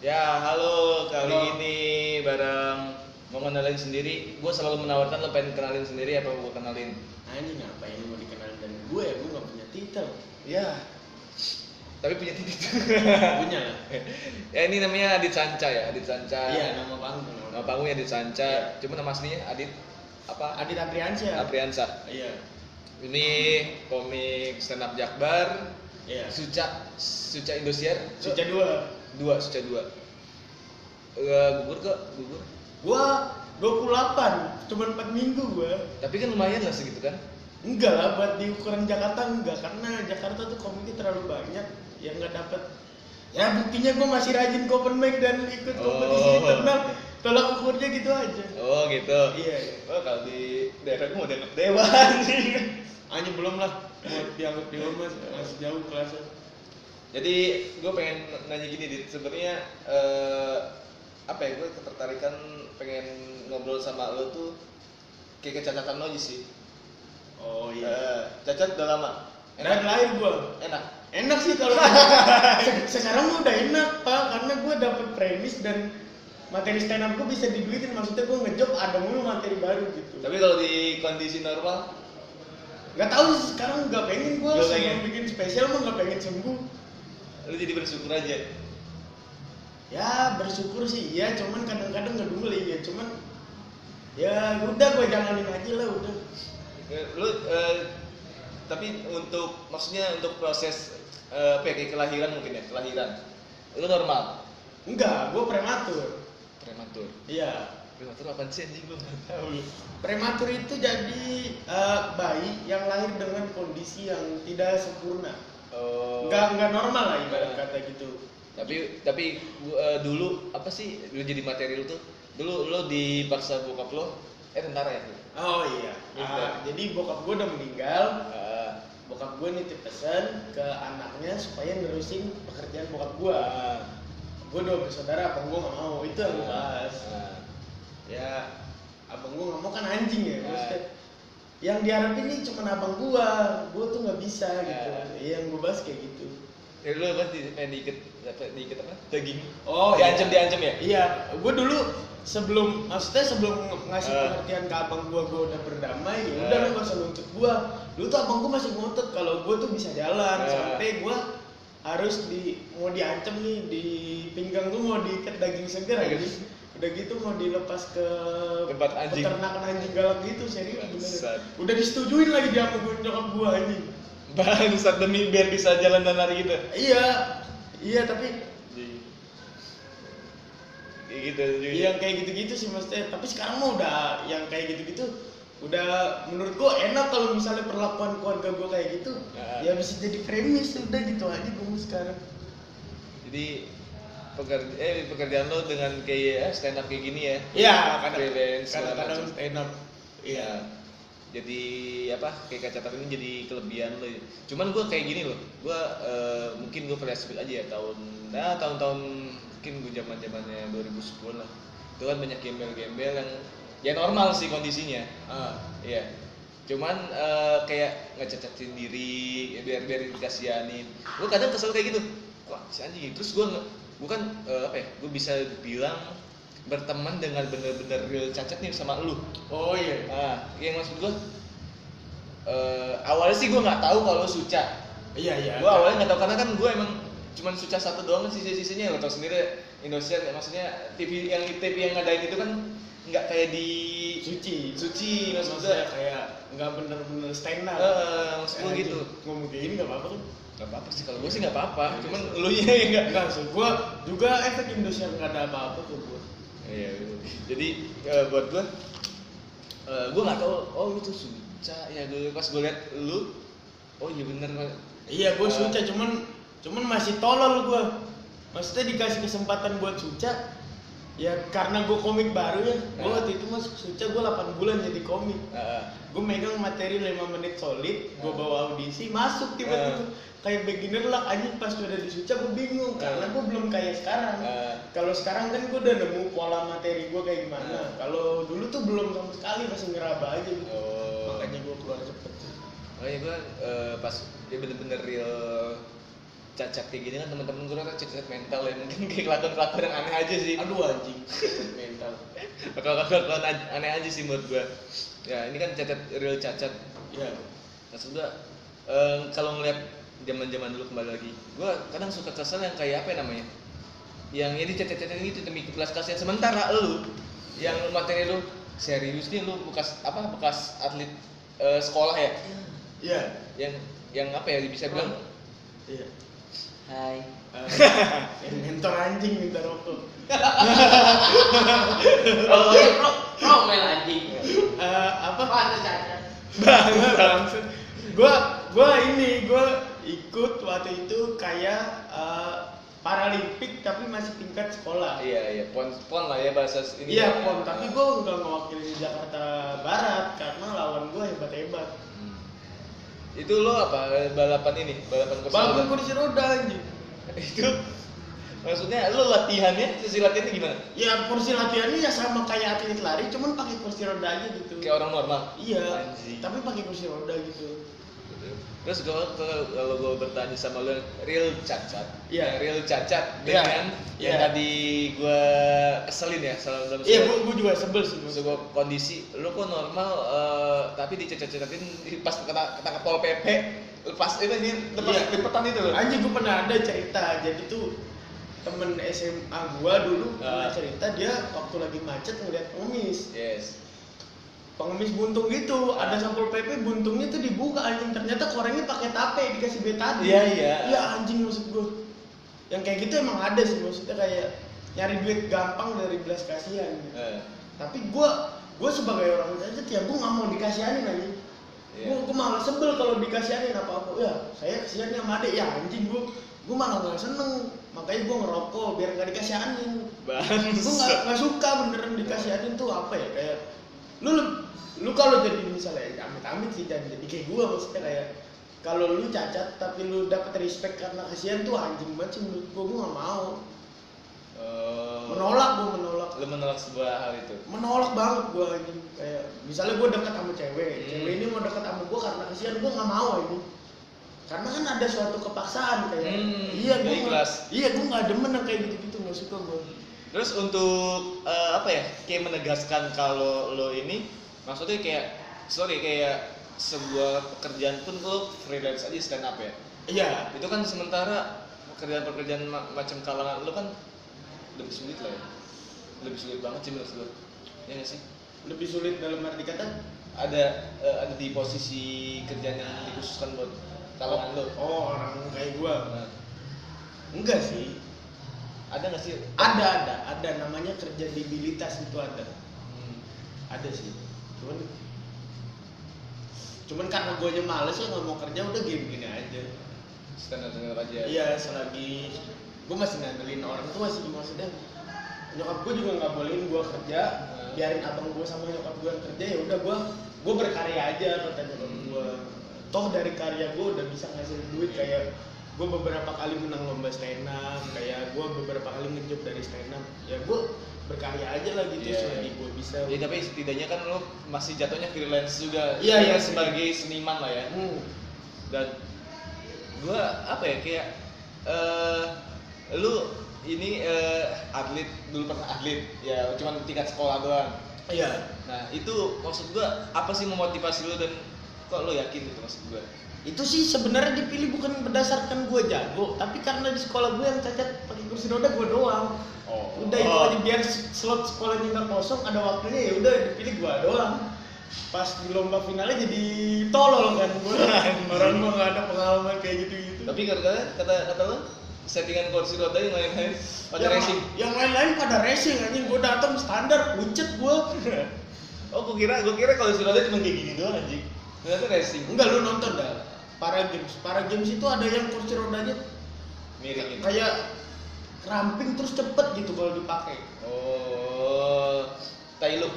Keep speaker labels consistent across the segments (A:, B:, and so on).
A: Ya, kenalin sendiri gue selalu menawarkan lo pengen kenalin sendiri apa gue kenalin
B: anjing Nah, ngapain mau dikenalin dari gue ya gue nggak punya titel Iya.
A: ya tapi punya titik
B: punya lah
A: ya ini namanya Adit Sanca ya Adit Sanca
B: iya nama panggung
A: nama panggungnya Adit Sanca
B: Iya.
A: cuma nama aslinya Adit apa
B: Adit Apriansyah
A: Apriansa
B: iya
A: ini komik stand up Jakbar
B: iya
A: Suca Suca Indosiar
B: Suca dua
A: dua Suca dua Eh, gugur kok gugur
B: gua 28 cuman 4 minggu gua
A: tapi kan lumayan lah segitu kan
B: enggak lah buat di ukuran Jakarta enggak karena Jakarta tuh komiknya terlalu banyak yang nggak dapet ya buktinya gua masih rajin open mic dan ikut kompetisi
A: Oh.
B: internal tolak ukurnya gitu aja
A: oh gitu
B: iya iya.
A: oh kalau di daerah gue mau dianggap dewa anjing.
B: anjing belum lah buat dianggap di rumah masih jauh kelasnya
A: jadi gue pengen nanya gini dit sebenarnya eh, apa ya gue ketertarikan pengen ngobrol sama lo tuh kayak kecacatan lo aja sih
B: oh
A: Eh, cacat udah lama
B: dan
A: enak
B: lahir gua
A: enak
B: enak sih kalau Se- sekarang mah udah enak pak karena gue dapet premis dan materi stand up gue bisa diduitin maksudnya gue ngejob ada mulu materi baru gitu
A: tapi kalau di kondisi normal
B: nggak tahu sih, sekarang nggak pengen gue
A: Nggak
B: sebelum
A: pengen.
B: bikin spesial mah nggak pengen sembuh
A: lo jadi bersyukur aja
B: ya bersyukur sih iya cuman kadang-kadang nggak dulu ya cuman ya udah gue jalanin aja lah udah
A: Eh, lu eh, tapi untuk maksudnya untuk proses eh, apa ya, kayak kelahiran mungkin ya kelahiran lu normal
B: enggak gue prematur
A: prematur
B: iya
A: prematur apa sih anjing gue nggak tahu
B: prematur itu jadi eh, bayi yang lahir dengan kondisi yang tidak sempurna
A: oh
B: nggak nggak normal lah ibarat kata gitu
A: tapi tapi gua, eh, dulu apa sih lu jadi materi lu tuh dulu lo dipaksa bokap lo eh tentara ya
B: oh iya Ah, jadi bokap gue udah meninggal
A: Ah,
B: bokap gue nitip pesan ke anaknya supaya nerusin pekerjaan bokap gue gue dua bersaudara abang gue nggak mau itu yang gue bahas
A: ah.
B: ya abang gue nggak mau kan anjing ya
A: Ah.
B: maksudnya yang diharapin nih cuma abang gue gue tuh nggak bisa gitu
A: Ah.
B: Iya, yang gue bahas kayak gitu
A: ya lu apa di, eh, diikat apa diikat apa daging
B: Oh,
A: diancam
B: iya.
A: diancam ya
B: Iya, gue dulu sebelum maksudnya sebelum ng- ngasih
A: Eh.
B: pengertian ke abang gue, gue udah berdamai. Ya
A: Eh.
B: udah lu gak usah nuntut gue. Dulu tuh abang gue masih ngotot kalau gue tuh bisa jalan
A: Eh.
B: sampai gue harus di mau diancam nih di pinggang gue mau diikat daging segar
A: Daging.
B: jadi udah gitu mau dilepas ke
A: Tempat anjing.
B: peternakan anjing galak gitu serius
A: Bangsat.
B: bener udah disetujuin lagi dia sama gue nyokap gue anjing
A: bangsat demi biar bisa jalan dan lari gitu
B: iya iya tapi
A: Kayak gitu juga.
B: Iya, yang kayak gitu-gitu sih maksudnya tapi sekarang mah udah yang kayak gitu-gitu udah menurut gua enak kalau misalnya perlakuan keluarga gua kayak gitu
A: Nah.
B: ya bisa jadi premis udah gitu aja gua mau sekarang
A: jadi pekerja eh pekerjaan lo dengan kayak eh, stand up kayak gini ya
B: ya
A: Freelance, segala
B: kadang-kadang
A: macam.
B: stand up iya
A: jadi apa kayak kacatan ini jadi kelebihan lo ya. cuman gue kayak gini loh gue eh, mungkin gue flashback aja ya tahun nah tahun-tahun mungkin gue zaman zamannya 2010 lah itu kan banyak gembel-gembel yang ya normal sih kondisinya
B: Ah.
A: Iya. Cuman eh, kayak ngececatin diri, ya biar biar dikasihanin. Gue kadang kesel kayak gitu. Wah, si anjing. Terus gue gue kan eh, apa ya? Gue bisa bilang berteman dengan bener-bener real cacat nih sama lu.
B: oh iya
A: Ah, yang maksud gue eh, awalnya sih gue nggak tahu kalau lu suca.
B: iya iya
A: Gue awalnya nggak tahu karena kan gue emang cuman suca satu doang kan sisa-sisanya lo tau sendiri Indonesia maksudnya TV yang TV yang ngadain itu kan nggak kayak di
B: suci
A: Suci,
B: maksudnya
A: maksudnya.
B: kayak nggak bener-bener stand up
A: Eh, maksud gue
B: Anjing,
A: gitu.
B: ngomongin nggak apa-apa kan
A: Gak apa-apa sih, kalau gue sih gak apa-apa Cuman
B: Iya.
A: lu nya yang gak
B: enggak maksud gua juga iya, efek Indonesia nggak ada apa-apa tuh gua
A: Iya, gitu. jadi eh, buat gue eh Gue gak tau, oh lu tuh suca Ya gue pas gue liat lu Oh iya bener
B: Iya, gue
A: Eh.
B: suca, cuman cuman masih tolol gue. Maksudnya dikasih kesempatan buat suca, ya karena gue komik baru ya. Gue
A: Eh.
B: waktu itu mas suca gue 8 bulan jadi komik.
A: Heeh.
B: Gue megang materi 5 menit solid, gue bawa audisi, masuk tiba-tiba kayak beginner lah. Anjing pas udah di suca gue bingung,
A: Eh.
B: karena gue belum kayak sekarang.
A: Eh.
B: Kalau sekarang kan gue udah nemu pola materi gue kayak gimana.
A: Eh.
B: Kalau dulu tuh belum sama sekali masih ngeraba aja gitu.
A: Oh.
B: Makanya gue keluar cepet. sih.
A: Makanya gue pas dia bener-bener real cacat kayak gini kan temen-temen gue kan cacat mental ya mungkin kayak kelakuan-kelakuan yang aneh aja sih
B: Aduh anjing, mental.
A: bakal bakal aneh aja sih menurut gua ya ini kan cacat real cacat
B: Iya.
A: maksud gua eh, kalau ngeliat zaman zaman dulu kembali lagi gua kadang suka kesel yang kayak apa ya namanya yang ini cacat-cacat itu demi kelas kasihan sementara lu yang materi lu serius nih lu bekas apa bekas atlet eh, sekolah ya
B: Iya.
A: yang yang apa ya bisa bilang
B: Iya.
A: hai
B: Eh, yang mentor anjing minta rokok.
A: oh,
C: Eh, Pro, pro main anjing.
B: Eh, apa?
C: Apaan tuh cacat?
B: Bangsat. gua gua ini gua ikut waktu itu kayak eh, paralimpik tapi masih tingkat sekolah.
A: iya iya pon pon lah ya bahasa ini
B: Iya, pon. Tapi gua nggak mewakili Jakarta Barat karena lawan gua hebat-hebat.
A: Hmm. itu lo apa balapan ini balapan kursi
B: Bangun
A: roda?
B: kursi roda anjing.
A: itu maksudnya lo latihannya sesi latihannya gimana
B: Ya kursi latihannya ya sama kayak atlet lari, cuman pakai kursi roda aja gitu.
A: kayak orang normal
B: Iya,
A: Anjing.
B: tapi pakai kursi roda gitu.
A: terus gue kalau gue bertanya sama lo real cacat
B: Iya.
A: real cacat
B: Iya.
A: dengan yang
B: Iya.
A: tadi gue keselin ya salah dalam
B: Iya,
A: sebuah-
B: gua, gua juga sebel sih. gua.
A: sebuah kondisi lo kok normal eh, tapi dicacat-cacatin di- pas kena ketangkap pol pp lepas itu ini lepas
B: Iya.
A: lipetan itu loh
B: Anjing gue pernah ada cerita jadi tuh temen SMA gua dulu
A: Ah.
B: pernah cerita dia waktu lagi macet ngeliat pengemis
A: yes
B: pengemis buntung gitu
A: Ah.
B: ada sampul PP buntungnya tuh dibuka anjing ternyata korengnya pakai tape dikasih betadin
A: Iya, iya.
B: iya anjing maksud gua yang kayak gitu emang ada sih maksudnya kayak nyari duit gampang dari belas kasihan gitu.
A: Eh,
B: tapi gua gua sebagai orang macet ya gua nggak mau dikasihanin anjing
A: iya.
B: Gue malah sebel kalau dikasihanin apa apa. Ya, saya kasihan sama adek ya anjing gue. Gue malah nggak seneng. Makanya gue ngerokok biar nggak dikasihanin. Gue nggak
A: Bangsat.
B: nggak suka beneran dikasihanin tuh apa ya kayak lu lu, lu kalau jadi misalnya ya, amit-amit sih dan jadi kayak gue maksudnya kayak kalau lu cacat tapi lu dapet respect karena kasihan tuh anjing banget sih menurut gue gue nggak mau
A: Eh,
B: menolak gue menolak
A: lu menolak sebuah hal itu
B: menolak banget gue anjing kayak misalnya gue deket sama cewek
A: Hmm.
B: cewek ini mau deket sama gue karena kasihan gue nggak mau ini karena kan ada suatu kepaksaan kayak
A: Hmm,
B: iya gue
A: nggak ikhlas.
B: iya gue nggak demen yang kayak gitu gitu nggak suka gue
A: Terus untuk eh, apa ya? Kayak menegaskan kalau lo ini maksudnya kayak sorry kayak sebuah pekerjaan pun lo freelance aja stand up ya.
B: iya
A: Itu kan sementara pekerjaan-pekerjaan ma- macam kalangan lo kan lebih sulit lah ya. Lebih sulit banget sih menurut lo. Ya nggak sih?
B: lebih sulit dalam arti kata
A: Ada eh, ada di posisi kerjaan yang dikhususkan buat kalangan lo.
B: oh orang kayak gue
A: Nah,
B: enggak sih
A: ada nggak sih?
B: ada ada ada namanya kerja debilitas itu ada
A: Hmm.
B: ada sih cuman cuman karena gue aja males ya nggak mau kerja udah gini gini aja
A: Stand up stand up aja.
B: Iya, selagi gue masih ngandelin orang tuh masih maksudnya nyokap gue juga nggak bolehin gue kerja,
A: Hmm.
B: biarin abang gue sama nyokap gue yang kerja ya udah gue gue berkarya aja kata nyokap
A: Hmm. Iya.
B: gue. Toh dari karya gue udah bisa ngasih duit kayak gue beberapa kali menang lomba stand up, kayak gue beberapa kali ngejob dari stand up. Ya gue berkarya aja lah gitu
A: Iya.
B: selagi gue bisa.
A: Ya tapi setidaknya kan lo masih jatuhnya freelance juga.
B: Iya, iya.
A: sebagai seniman lah ya.
B: Hmm.
A: Dan gua apa ya kayak eh lu ini eh, atlet dulu pernah atlet ya cuman tingkat sekolah doang.
B: Iya.
A: Nah, itu maksud gua apa sih memotivasi lu dan kok lu yakin gitu maksud gua?
B: Itu sih sebenarnya dipilih bukan berdasarkan gue jago, tapi karena di sekolah gue yang cacat pakai kursi roda gue doang.
A: Oh.
B: udah itu aja biar slot sekolahnya nggak kosong ada waktunya ya udah dipilih gua doang pas di lomba finalnya jadi tolol kan gua orang gua nggak ada pengalaman kayak gitu gitu
A: Tapi gara-gara kata kata lu settingan kursi roda yang lain-lain pada
B: Iya,
A: racing.
B: yang lain-lain pada racing anjing gua datang standar pucet gua
A: Oh, gua kira gua kira kursi roda cuma kayak gini doang anjing. Ternyata racing.
B: enggak lu nonton dah para games para games itu ada yang kursi rodanya
A: Miring gitu.
B: kayak ramping terus cepet gitu kalau dipakai
A: Oh, tai look.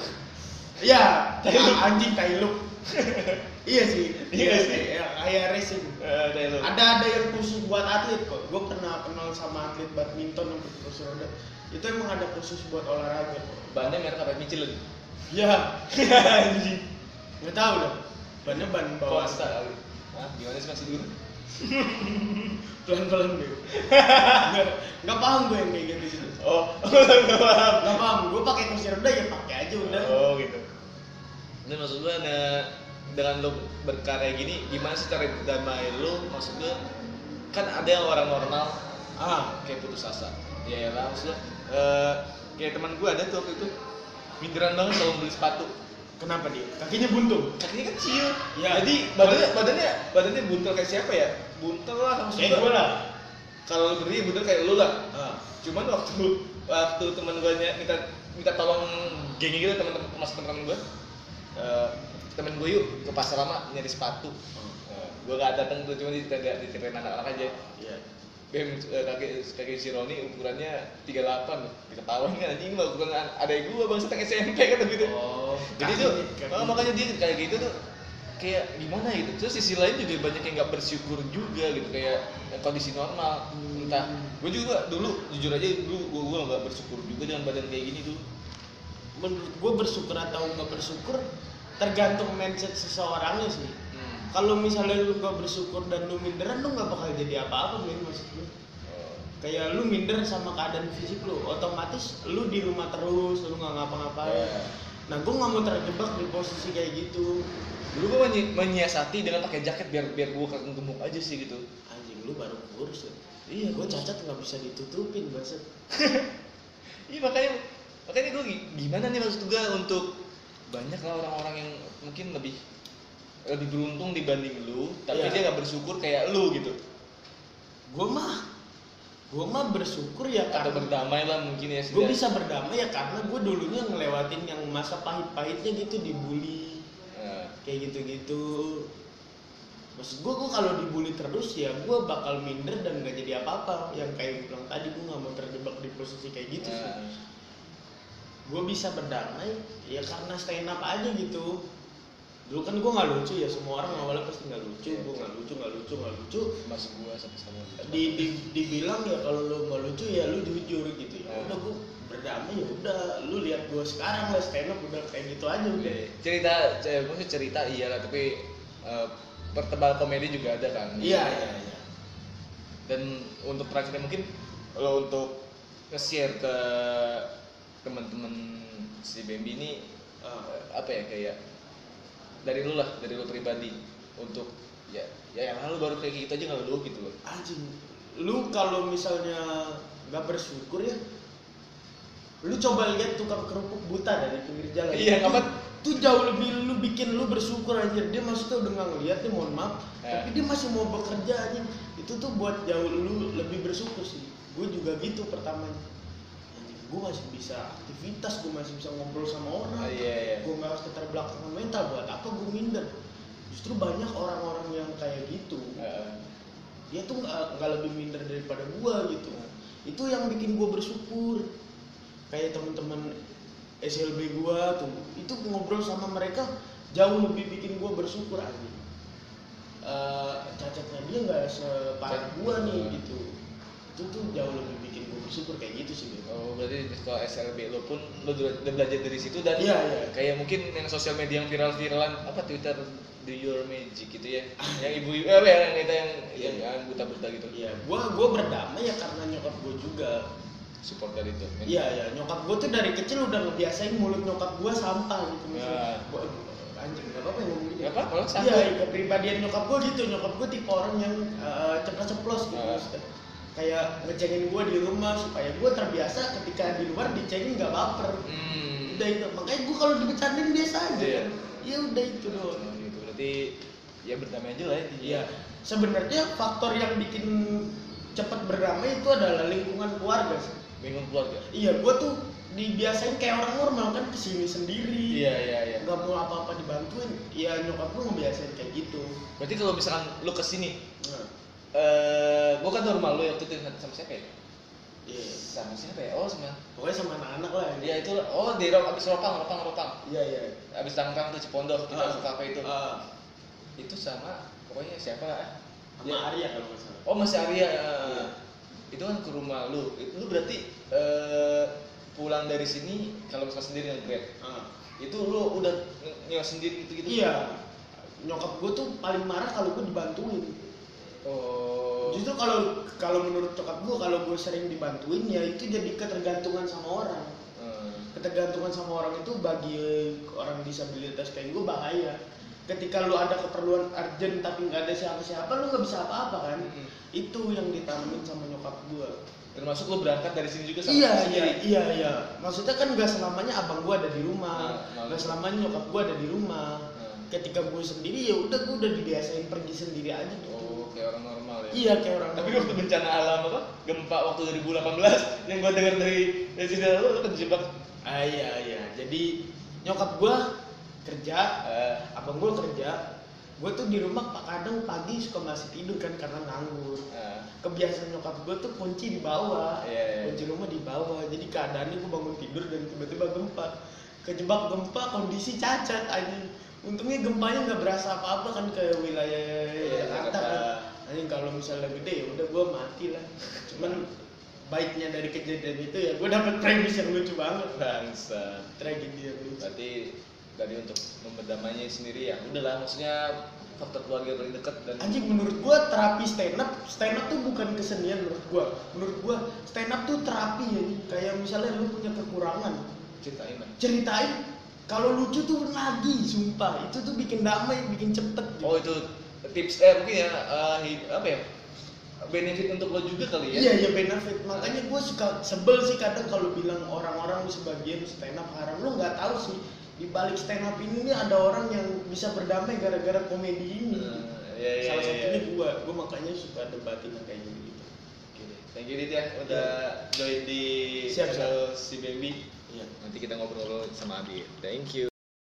B: iya anjing tai look iya sih
A: Iya sih.
B: iya, kayak racing
A: Eh, tai look.
B: ada ada yang khusus buat atlet kok gue pernah kenal sama atlet badminton yang kursus roda itu emang ada khusus buat olahraga kok
A: Bannya merek apa? Michelin. Iya.
B: ya nggak tahu dong bannya ban bawaan
A: Kosta kali. Hah, gimana sih maksud lu?
B: pelan-pelan gue nggak paham gue yang kayak gitu gitu
A: Oh,
B: nggak paham gue pakai kursi roda ya pakai aja udah
A: oh gitu. Dan maksud gue nah, dengan lo berkarya gini, gimana sih cara damai lo? Maksud gue kan ada yang orang normal
B: ah
A: kayak putus asa. Ya lah, maksud gue eh, kayak teman gue ada tuh waktu itu minderan banget kalau beli sepatu
B: kenapa dia kakinya buntung
A: kakinya kecil
B: Ya.
A: jadi badannya badannya badannya buntel kayak siapa ya buntel lah maksud
B: kayak gue
A: gue
B: lah
A: kalau berdiri buntel kayak lu lah
B: ah.
A: cuman waktu waktu teman gue minta minta tolong geng gitu teman-teman termasuk teman-teman gue Eh temen gue yuk ke pasar lama nyari sepatu Eh, gue gak datang tuh cuma ditanya dititipin anak-anak aja
B: Iya.
A: Bem, eh, kaki, kaki si Roni ukurannya 38 loh. Ketahuan kan anjing mah ukuran ada gue bang setengah SMP kata gitu
B: oh
A: jadi tuh oh, makanya dia kayak gitu tuh kayak gimana gitu terus sisi lain juga banyak yang nggak bersyukur juga gitu kayak eh, kondisi normal
B: Hmm.
A: entah gue juga dulu jujur aja dulu gue gue nggak bersyukur juga dengan badan kayak gini dulu
B: menurut gue bersyukur atau nggak bersyukur tergantung mindset seseorangnya sih kalau misalnya lu gak bersyukur dan lu minderan lu gak bakal jadi apa-apa men maksud gue kayak lu minder sama keadaan fisik lu otomatis lu di rumah terus lu nggak ngapa-ngapain
A: Iya.
B: nah gue nggak mau terjebak di posisi kayak gitu
A: dulu gue menyiasati dengan pakai jaket biar biar gue kagak gemuk aja sih gitu
B: anjing lu baru kurus ya
A: iya
B: gue cacat nggak bisa ditutupin banget
A: iya makanya makanya gue gimana nih maksud gue untuk banyak lah orang-orang yang mungkin lebih lebih beruntung dibanding lu tapi
B: Iya.
A: dia nggak bersyukur kayak lu gitu
B: gue mah gue mah bersyukur ya
A: atau
B: karena
A: berdamai lah mungkin ya
B: gue
A: sudah.
B: bisa berdamai ya karena gue dulunya ngelewatin yang masa pahit-pahitnya gitu dibully
A: Eh,
B: kayak gitu-gitu maksud gue gue kalau dibully terus ya gue bakal minder dan gak jadi apa-apa yang kayak gue bilang tadi gue gak mau terjebak di posisi kayak gitu sih
A: eh,
B: gue bisa berdamai ya karena stand up aja gitu dulu kan gue nggak lucu ya semua orang awalnya pasti nggak lucu
A: Iya.
B: gue nggak lucu nggak lucu nggak lucu
A: masuk gua sama sama
B: di, di dibilang ya kalau lu nggak lucu ya lu jujur gitu ya
A: Iya.
B: udah gue berdamai ya udah lu lihat gue sekarang lah stand up udah kayak gitu aja udah
A: cerita eh, maksudnya cerita iya lah tapi eh, pertebal komedi juga ada kan
B: iya iya iya
A: dan untuk terakhir mungkin lo untuk nge-share ke teman-teman si Bambi ini
B: Ah.
A: eh, apa ya kayak dari lu lah dari lu pribadi untuk ya ya yang lalu baru kayak gitu aja nggak lu gitu loh
B: anjing lu kalau misalnya nggak bersyukur ya lu coba lihat tukang kerupuk buta dari pinggir jalan
A: Iya,
B: Itu-
A: ngapain?
B: itu jauh lebih lu bikin lu bersyukur anjir dia maksudnya udah nggak ngeliat nih mohon maaf
A: Ya.
B: tapi dia masih mau bekerja anjing itu tuh buat jauh lu lebih bersyukur sih gue juga gitu pertamanya anjing gue masih bisa aktivitas gue masih bisa ngobrol sama orang
A: Ah, iya iya
B: gue nggak harus keterbelakangan mental buat apa gue minder justru banyak orang-orang yang kayak gitu
A: Eh,
B: dia tuh nggak nggak lebih minder daripada gua gitu itu yang bikin gua bersyukur kayak teman-teman SLB gua tuh itu ngobrol sama mereka jauh lebih bikin gua bersyukur aja Eh cacatnya dia nggak separah
A: Cacat.
B: gua nih gitu itu tuh jauh lebih bikin gua bersyukur kayak gitu sih Bro.
A: Oh, berarti kalau SLB lo pun lo udah udah belajar dari situ dan
B: Iya, iya.
A: kayak mungkin yang sosial media yang viral-viralan apa Twitter do your magic gitu ya. yang ibu eh apa ya, yang kita yang
B: Ah. Iya.
A: yang yang buta-buta gitu.
B: Iya, gua gua berdamai ya karena nyokap gua juga.
A: Support dari itu.
B: Iya, iya, nyokap gua tuh dari kecil udah ngebiasain mulut nyokap gua sampah gitu
A: Ya.
B: misalnya. Gua- aduh, anjing, nggak apa-apa yang ngomong gini.
A: Gak apa-apa lo
B: Iya,
A: santai.
B: kepribadian nyokap gue gitu. Nyokap gue tipe orang yang eh, ceplos-ceplos gitu.
A: Ah.
B: maksudnya. Kayak ngecengin gue di rumah supaya gue terbiasa ketika di luar dicengin nggak baper.
A: Hmm.
B: Udah itu. Makanya gue kalau dibecandain biasa aja.
A: Iya.
B: Iya. Ya udah itu doang.
A: Oh, gitu. Berarti ya berdamai aja lah ya.
B: Iya. Sebenarnya faktor yang bikin cepet berdamai itu adalah lingkungan keluarga sih.
A: Bingung keluarga.
B: Iya, gue tuh dibiasain kayak orang normal kan kesini sendiri.
A: Iya, iya, iya.
B: Nggak mau apa-apa dibantuin. Ya nyokap gue ngebiasain kayak gitu.
A: Berarti kalau misalkan lo kesini,
B: Nah,
A: eh gua kan normal lo yang itu sama siapa ya?
B: iya.
A: Sama siapa ya? Oh, sama.
B: Pokoknya sama anak-anak lah.
A: Ya itu oh di rok abis ropang, ropang, ropang.
B: Iya iya.
A: abis tangkang tuh Cipondok kita
B: Ah.
A: ke kafe itu
B: Ah,
A: itu sama pokoknya siapa lah
B: sama
A: Ya.
B: Arya kalau nggak salah.
A: oh masih Arya ya.
B: Iya.
A: itu kan ke rumah lu lu berarti eh, pulang dari sini kalau misalnya sendiri yang grab
B: Ah.
A: itu lu udah nyewa sendiri gitu gitu
B: Iya. Nyokap gue tuh paling marah kalau gue dibantuin.
A: oh
B: Justru kalau kalau menurut cokap gue kalau gue sering dibantuin ya itu jadi ketergantungan sama orang.
A: Hmm.
B: Ketergantungan sama orang itu bagi orang disabilitas kayak gue bahaya. Ketika lu ada keperluan urgent tapi nggak ada siapa-siapa lu nggak bisa apa-apa kan?
A: Mm-mm.
B: Itu yang ditanamin sama nyokap gue.
A: termasuk lo berangkat dari sini juga sama
B: Iya iya
A: sendiri
B: iya iya. Maksudnya kan gak selamanya abang gue ada di rumah,
A: Nah,
B: nggak selamanya nyokap gue ada di rumah.
A: Nah.
B: Ketika gue sendiri ya udah gue udah dibiasain pergi sendiri aja gitu.
A: oh kayak orang normal ya
B: Iya kayak orang.
A: tapi waktu bencana alam apa gempa waktu 2018 yang gua dengar dari dari sini kan lo lo terjebak
B: Ah iya iya. Jadi nyokap gua kerja,
A: Eh,
B: abang gua kerja. Gue tuh di rumah pak kadang pagi suka masih tidur kan karena nganggur.
A: eh,
B: Kebiasaan nyokap gua tuh kunci di bawah,
A: Iya, iya.
B: kunci rumah di bawah. Jadi keadaannya gua bangun tidur dan tiba-tiba gempa. Kejebak gempa kondisi cacat anjing. Untungnya gempanya nggak berasa apa-apa kan ke wilayah
A: Iya,
B: Jakarta
A: Jakarta.
B: kan. Anjing kalau misalnya gede ya udah gua mati lah. Cuman baiknya dari kejadian itu ya gua dapet premis yang lucu banget
A: bangsa
B: tragedi yang lucu.
A: berarti dari untuk membedamainya sendiri ya udahlah maksudnya faktor keluarga paling dekat dan
B: Anjing menurut gua terapi stand up, stand up tuh bukan kesenian menurut gua. Menurut gua stand up tuh terapi ya. Kayak misalnya lu punya kekurangan,
A: ceritain lah
B: ceritain kalau lucu tuh lagi sumpah itu tuh bikin damai bikin cepet gitu.
A: oh itu tips eh mungkin ya eh, hi- apa ya benefit untuk lo juga kali ya
B: iya iya benefit makanya gua suka sebel sih kadang kalau bilang orang-orang sebagian stand up haram lu nggak tahu sih di balik stand up ini nih ada orang yang bisa berdamai gara-gara komedi ini
A: Eh, iya, iya,
B: salah
A: iya,
B: satunya
A: iya.
B: gua gua makanya suka debatin yang kayak gitu
A: Oke deh. Thank you Dit ya udah join di
B: Iya. Siap, siap.
A: channel si Baby.
B: iya
A: Nanti kita ngobrol-ngobrol sama Abi. Thank you.